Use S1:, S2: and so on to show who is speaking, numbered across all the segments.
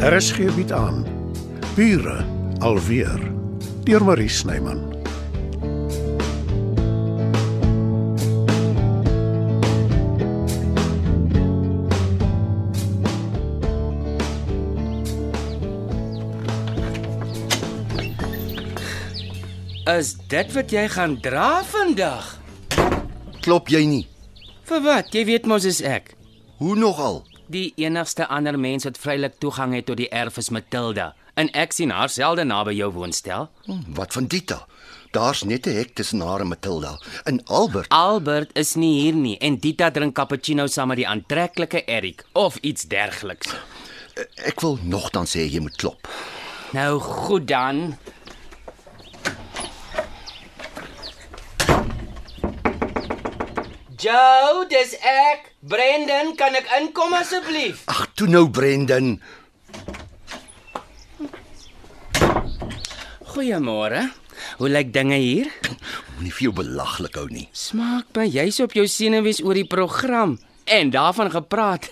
S1: RSG bied aan. Bure alweer deur Marie Snyman.
S2: Is dit wat jy gaan dra vandag?
S3: Klop jy nie?
S2: Vir wat? Jy weet mos is ek.
S3: Hoe nogal?
S2: Die enigste ander mens wat vrylik toegang het tot die erf is Matilda en ek sien haar selde naby jou woonstel.
S3: Hm, Wat van Dita? Daar's net 'n hek tussen haar en Matilda. En Albert,
S2: Albert is nie hier nie en Dita drink cappuccino saam met die aantreklike Erik of iets dergeliks.
S3: ek wil nogtans sê jy moet klop.
S2: Nou goed dan. Joe, dis ek. Brendan, kan ek inkom asseblief?
S3: Ag, toe nou Brendan.
S2: Goeiemôre. Hoe lyk dinge hier?
S3: Moenie vir jou belaglik hou nie.
S2: Smaak by jy's op jou senuwees oor die program en daarvan gepraat.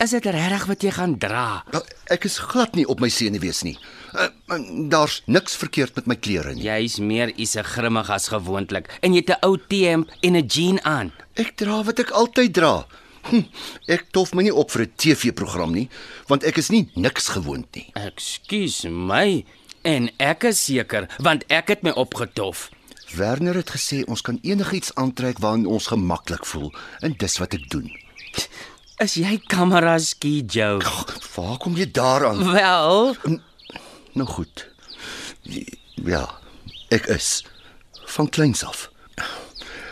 S2: Is dit regtig wat jy gaan dra?
S3: Wel, Ek is glad nie op my senuwees nie. Eh, eh, Daar's niks verkeerd met my klere nie.
S2: Jy's meer ise grimmig as gewoonlik en jy het 'n ou T-hemp en 'n jean aan.
S3: Ek dra wat ek altyd dra. Hm, ek tof my nie op vir 'n TV-program nie, want ek is nie niks gewoond nie.
S2: Ekskuus my. En ek is seker want ek het my opgetof.
S3: Werner het gesê ons kan enigiets aantrek waarin ons gemaklik voel, en dis wat ek doen.
S2: Is jy kamera ski Joe?
S3: Ag, waar kom jy daaraan?
S2: Wel,
S3: Nou goed. Ja, ek is van kleins af.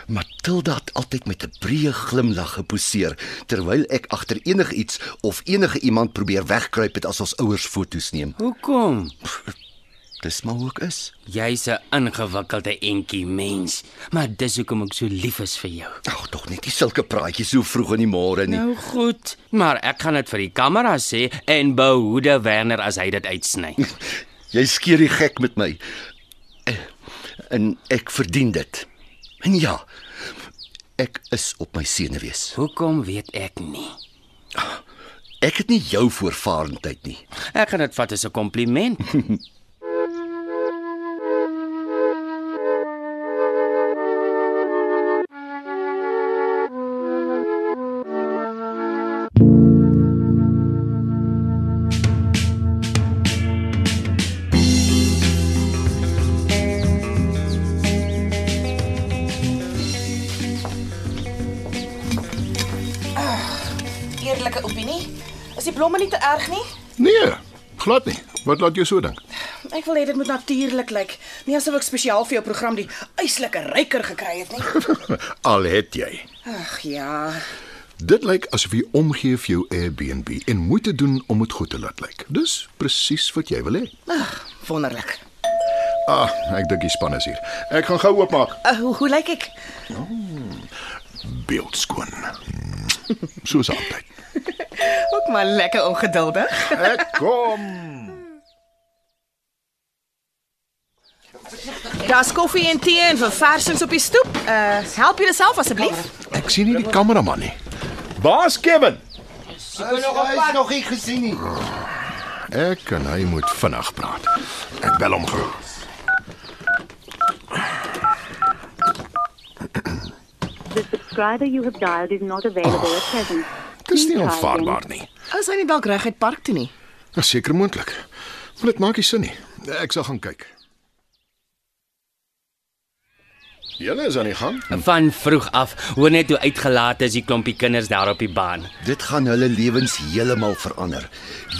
S3: Matilda het altyd met 'n breë glimlag geposeer terwyl ek agter enigiets of enige iemand probeer wegkruip het as ons ouers foto's neem.
S2: hoekom?
S3: Dis maar hoe ek is.
S2: Jy's 'n ingewikkelde entjie mens, maar dis hoekom ek so lief is vir jou.
S3: Ag, tog net nie sulke praatjies so vroeg in die môre nie.
S2: Nou goed, maar ek gaan dit vir die kamera sê en behoede Werner as hy dit uitsny.
S3: Jy skeer die gek met my. Eh, En ek verdien dit. En ja, ek is op my senuwees.
S2: Hoekom weet ek nie.
S3: Ek het nie jou voorvarendheid nie.
S2: Ek gaan dit vat as 'n kompliment.
S4: Eerlike opinie. Is die blomme nie te erg nie?
S5: Nee, glad nie. Wat laat jou so dink?
S4: Ek wil hê dit moet natuurlik lyk. Nie asof ek spesiaal vir jou program die yslike ryker gekry het nie.
S5: Al het jy.
S4: Ag ja.
S5: Dit lyk asof jy omgee vir jou Airbnb en moeite doen om dit goed te laat lyk. Dis presies wat jy wil hê.
S4: Ag, wonderlik.
S5: Ah, ek dink die span is hier. Ek gaan gou oopmaak.
S4: Uh, hoe, hoe lyk ek?
S5: Beeldskoon. Mm, Soos altyd.
S4: Ook maar lekker ongeduldig.
S5: Ek kom.
S4: Daar's koffie en tee en verversings op die stoep. Uh, help jouself asseblief.
S5: Ek sien nie die kameraman nie.
S6: Waar's Kevin?
S3: Hy's hy nog nie gesien nie.
S5: Ek en hy moet vinnig praat. Ek bel hom gou.
S7: The subscriber you have dialed is not available at present.
S5: Dis nie
S7: Please dial again.
S5: aanvaarbaar nie.
S4: As hy nie dalk reguit park toe nie.
S5: Dis seker moontlik. Maar dit maak nie sin nie. Ek sal gaan kyk. Julle is aan die gang.
S2: Van vroeg af hoor net hoe uitgelaat is die klompie kinders daar op die baan.
S3: Dit gaan hulle lewens heeltemal verander.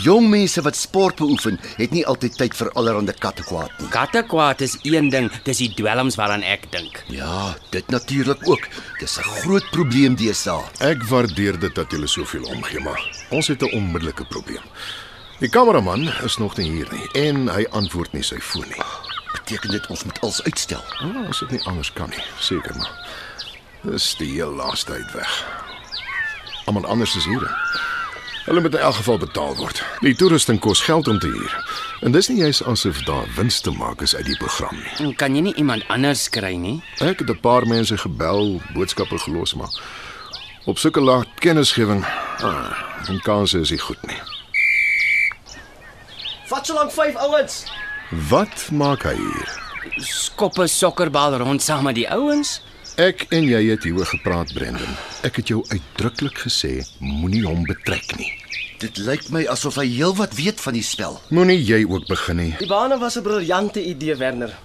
S3: Jong mense wat sport beoefen, het nie altyd tyd vir allerlei kattekwaad nie.
S2: Katte kwaad is een ding, dis die dwelms waaraan ek dink.
S3: Ja, dit natuurlik ook. Dis 'n groot probleem deesdae.
S5: Ek waardeer dit dat julle soveel omgee, maar ons het 'n onmiddellike probleem. Die kameraman is nog nie hier nie en hy antwoord nie sy foon nie.
S3: Beteken dit ons moet alles uitstel?
S5: Oh, ons het nie anders kan nie, seker maar. Dis die heel laaste uit weg. Almal anders is hier. hè? Hulle moet in elk geval betaal word. Die toerusting kos geld om te huur. En dis nie juis asof daar wins te maak is uit die program nie.
S2: En Kan jy nie iemand anders kry nie?
S5: Ek het 'n paar mense gebel, boodskappe gelos, maar op sulke laat kennisgewing, ah, en kanse is nie goed nie.
S6: Vat so lank vyf ouens.
S5: Wat maak hy hier?
S2: Skoppe sokkerbal rond saam met die ouens.
S5: Ek en jy het hieroor gepraat, Brendan. Ek het jou uitdruklik gesê moenie hom betrek nie.
S3: Dit lyk my asof hy heelwat weet van die spel.
S5: Moenie jy ook begin nie.
S6: Die bane was 'n briljante idee, Werner.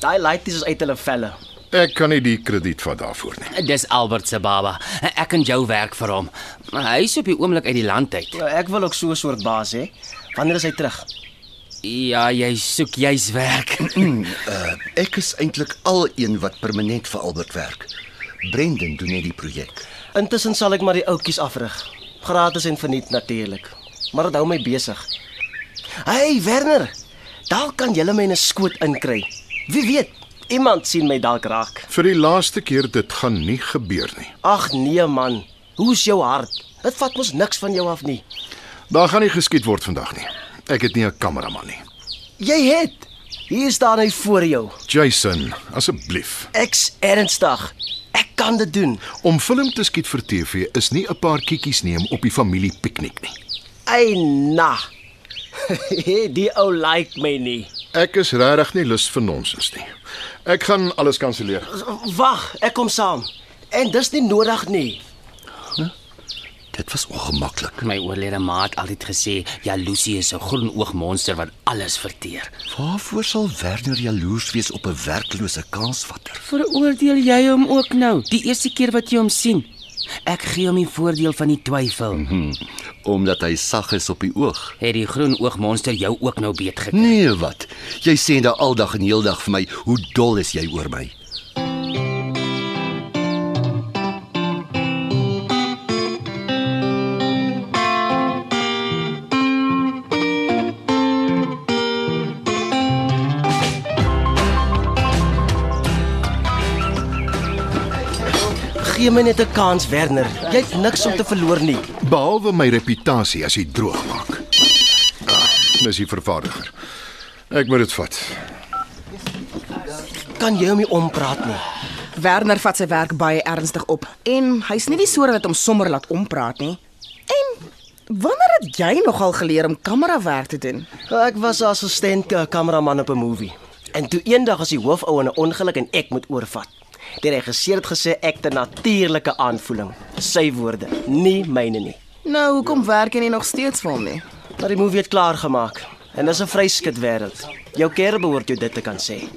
S6: Daai lighties is uit hulle velle.
S5: Ek kan nie die krediet vat daarvoor nie.
S2: Dis Albert se baba. Ek en jou werk vir hom. Hy is op die oomblik uit die land uit.
S6: Nou, Ek wil ook so 'n soort baas hê. Wanneer is hy terug?
S2: Ja, jy soek juis werk.
S3: Uh, ek is eintlik al een wat permanent vir Albert werk. Brendan doen net die projek.
S6: Intussen sal ek maar die oudjies afrig. Gratis en verniet natuurlik. Maar dit hou my besig. Hey Werner, dalk kan jy my in 'n skoot inkry. Wie weet, iemand sien my dalk raak.
S5: Vir die laaste keer dit gaan nie gebeur nie.
S6: Ag nee man, hoe's jou hart? Dit vat mos niks van jou af nie.
S5: Daar gaan nie geskiet word vandag nie. Ek het nie 'n kameraman nie.
S6: Jy het. Hier staan hy voor jou.
S5: Jason, asseblief.
S6: Ek's ernstig. Ek kan dit doen.
S5: Om film te skiet vir TV is nie 'n paar kiekies neem op die familiepiknik nie.
S6: Ai na. Die ou like my nie.
S5: Ek is regtig nie lus vir nonsens nie. Ek gaan alles kanselleer.
S6: Wag, ek kom saam. En dis nie nodig nie.
S3: Dit was ongemaklik.
S2: My oorlede maat altyd gesê, jaloesie is 'n groenoogmonster wat alles verteer.
S3: Waarvoor sal Werner jaloers wees op 'n werklose kansvatter?
S2: Veroordeel jy hom ook nou, die eerste keer wat jy hom sien? Ek gee hom die voordeel van die twyfel. Mm -hmm.
S3: Omdat hy sag is op die oog.
S2: Het die groenoogmonster jou ook nou beet gekry?
S3: Nee, wat? Jy sê nou aldag en heeldag vir my, hoe dol is jy oor my?
S6: Gee my net 'n kans, Werner. Jy het niks om te verloor nie.
S5: Behalwe my reputasie as hy droog maak. Ah, dis die vervaardiger. Ek moet dit vat.
S6: Kan jy hom nie ompraat nie.
S4: Werner vat sy werk baie ernstig op en hy's nie die soort wat hom sommer laat ompraat nie. En wanneer het jy nogal geleer om kamerawerk te doen?
S6: Ek was 'n assistent eh, kameraman op 'n movie. En toe eendag as die hoofou in 'n ongeluk en ek moet oorvat. Die regisseur het gesê ek het 'n natuurlike aanvoeling. Sy woorde, nie myne nie.
S4: Nou,
S8: Ja.
S4: hoekom werk jy nie nog steeds vir hom nie?
S6: Maar die movie het klaar gemaak en dis 'n vryskut wêreld. Jou keer behoort jou dit te kan sê.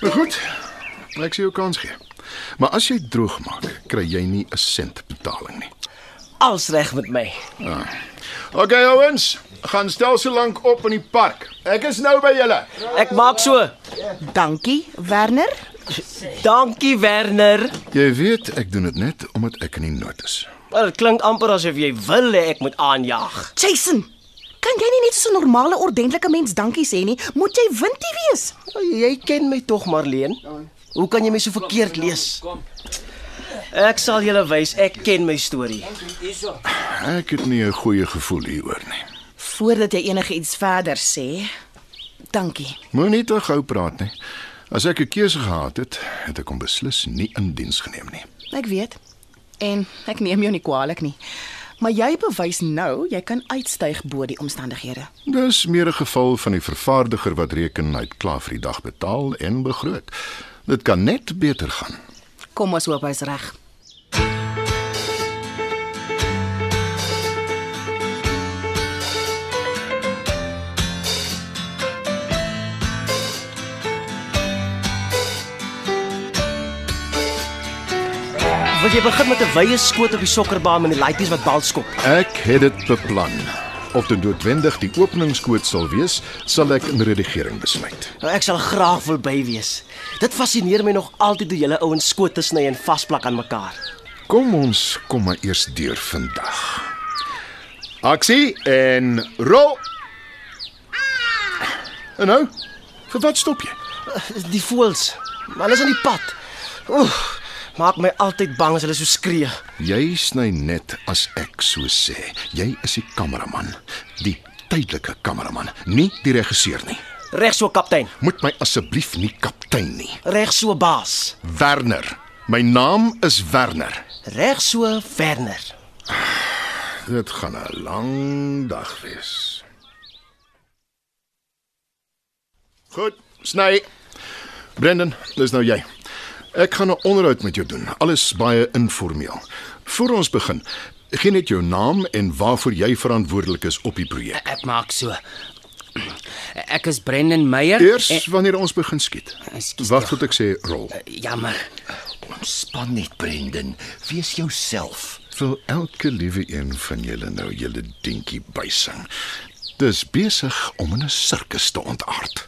S5: Maar goed. Ek sien jou kans gee. Maar as jy droog maak, kry jy nie 'n sent betaling nie. Ah.
S6: Als reg met my.
S5: OK ouens, gaan stel so lank op in die park. Ek is nou by julle.
S6: Ek maak so.
S8: Dankie, Werner.
S6: Dankie Werner.
S5: Jy weet ek doen dit net omdat ek in die nood is.
S6: Maar dit klink amper asof jy wil hê ek moet aanjaag.
S8: Jason, kan jy nie net soos 'n normale ordentlike mens dankie sê nie? Moet jy windie wees?
S6: Nou, Jy ken my tog, Marleen. Hoe kan jy my so verkeerd lees? Ek sal julle wys ek ken my storie.
S5: Ek het nie 'n goeie gevoel hieroor nie.
S8: Voordat jy enigiets verder sê, dankie.
S5: Moenie te gou praat nie. As ek 'n keuse gehad het, het ek hom beslis nie in diens geneem nie.
S8: Ek weet. En ek neem jou nie kwaadlik nie. Maar jy bewys nou jy kan uitstyg bo die omstandighede.
S5: Dis meer 'n geval van die vervaardiger wat reken hy het klaar vir die dag betaal en begroot. Dit kan net beter gaan.
S8: Kom ons hoop hy's reg.
S6: Wil jy begin met 'n wye skoot op die sokkerbaan en die laities wat bal skop?
S5: Ek het dit beplan. Of dit noodwendig die openingskoot sal wees, sal ek in redigering besluit.
S6: Nou, Ek sal graag wil by wees. Dit fascineer my nog altyd hoe julle ouens skote sny en vasplak aan mekaar.
S5: Kom ons kom maar eers deur vandag. Aksie en rol. En nou, vir wat stop jy?
S6: Die voëls, hulle is aan die pad. Oef, maak my altyd bang as hulle so skree.
S5: Jy sny net as ek so sê. Jy is die kameraman, die tydelike kameraman, nie die regisseur nie.
S6: Reg so kaptein,
S5: Moet my asseblief nie kaptein nie.
S6: reg so baas,
S5: Werner. My naam is Werner.
S6: reg so Werner.
S5: Dit gaan 'n lang dag wees. Goed, sny. Brendan, dis nou jy. Ek gaan 'n onderhoud met jou doen. Alles baie informeel. Voor ons begin, gee net jou naam en waarvoor jy verantwoordelik is op die projek.
S2: Ek maak so. Ek is Brendan Meyer.
S5: Eers wanneer ons begin skiet. Eh,
S2: Ekskuus,
S5: Wag tot ek sê rol.
S2: Jammer.
S3: Ontspan net, Brendan. Wees jouself.
S5: Wil elke liewe een van julle nou julle dingetjie bysing. Dis besig om in 'n sirkus te ontaard.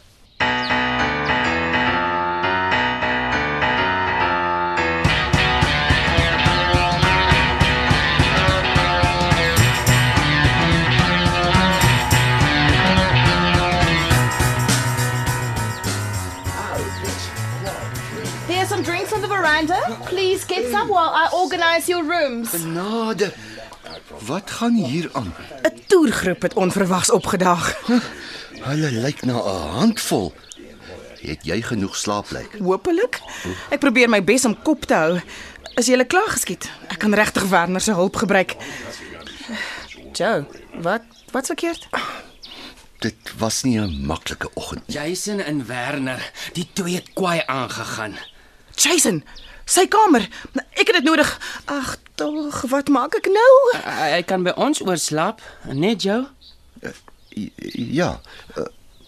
S8: There's some drinks on the veranda. Please get some while I organize your rooms.
S3: Genade. Wat gaan hier aan?
S4: 'n Toergroep het onverwags opgedaag.
S3: Hulle lyk na 'n handvol. Het jy genoeg slaaplek?
S4: Hoopelik. Ek probeer my bes om kop te hou. Is jy klaar geskiet? Ek kan regtig Werner se hulp gebruik. Joe, wat wat's verkeerd?
S3: Dit was nie 'n maklike oggend nie.
S2: Jason en Werner, die twee het kwaai aangegaan.
S4: Jason, sy kamer. Ek het dit nodig. Ag, tog, wat maak ek nou?
S2: Hy kan by ons oorslaap, net jou.
S3: Ja, eh,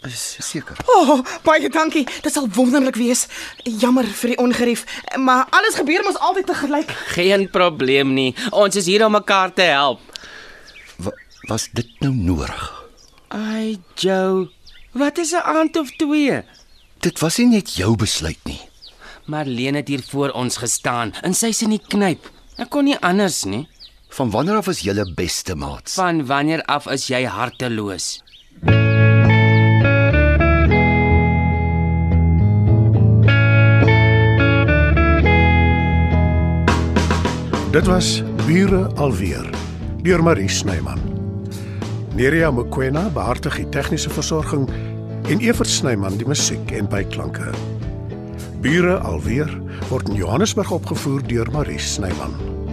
S3: is seker.
S4: O, oh, baie dankie. Dit sal wonderlik wees. Jammer vir die ongerief, maar alles gebeur mos altyd te gelyk.
S2: Geen probleem nie. Ons is hier om mekaar te help.
S3: Wa was dit nou nodig?
S2: Ai, Joe. Wat is 'n aand of twee?
S3: Dit was nie net jou besluit nie.
S2: Marlene het hier voor ons gestaan en sy's in die knyp. Ek kon nie anders nie.
S3: Van wanneer af is julle beste maats?
S2: Van wanneer af is jy harteloos?
S1: Dit was Bure alweer deur Marie Snyman. Nerea Mkwena behartig die tegniese versorging en Evert Snyman die musiek en byklanke. Bure alweer word in Johannesburg opgevoer deur Marie Snyman.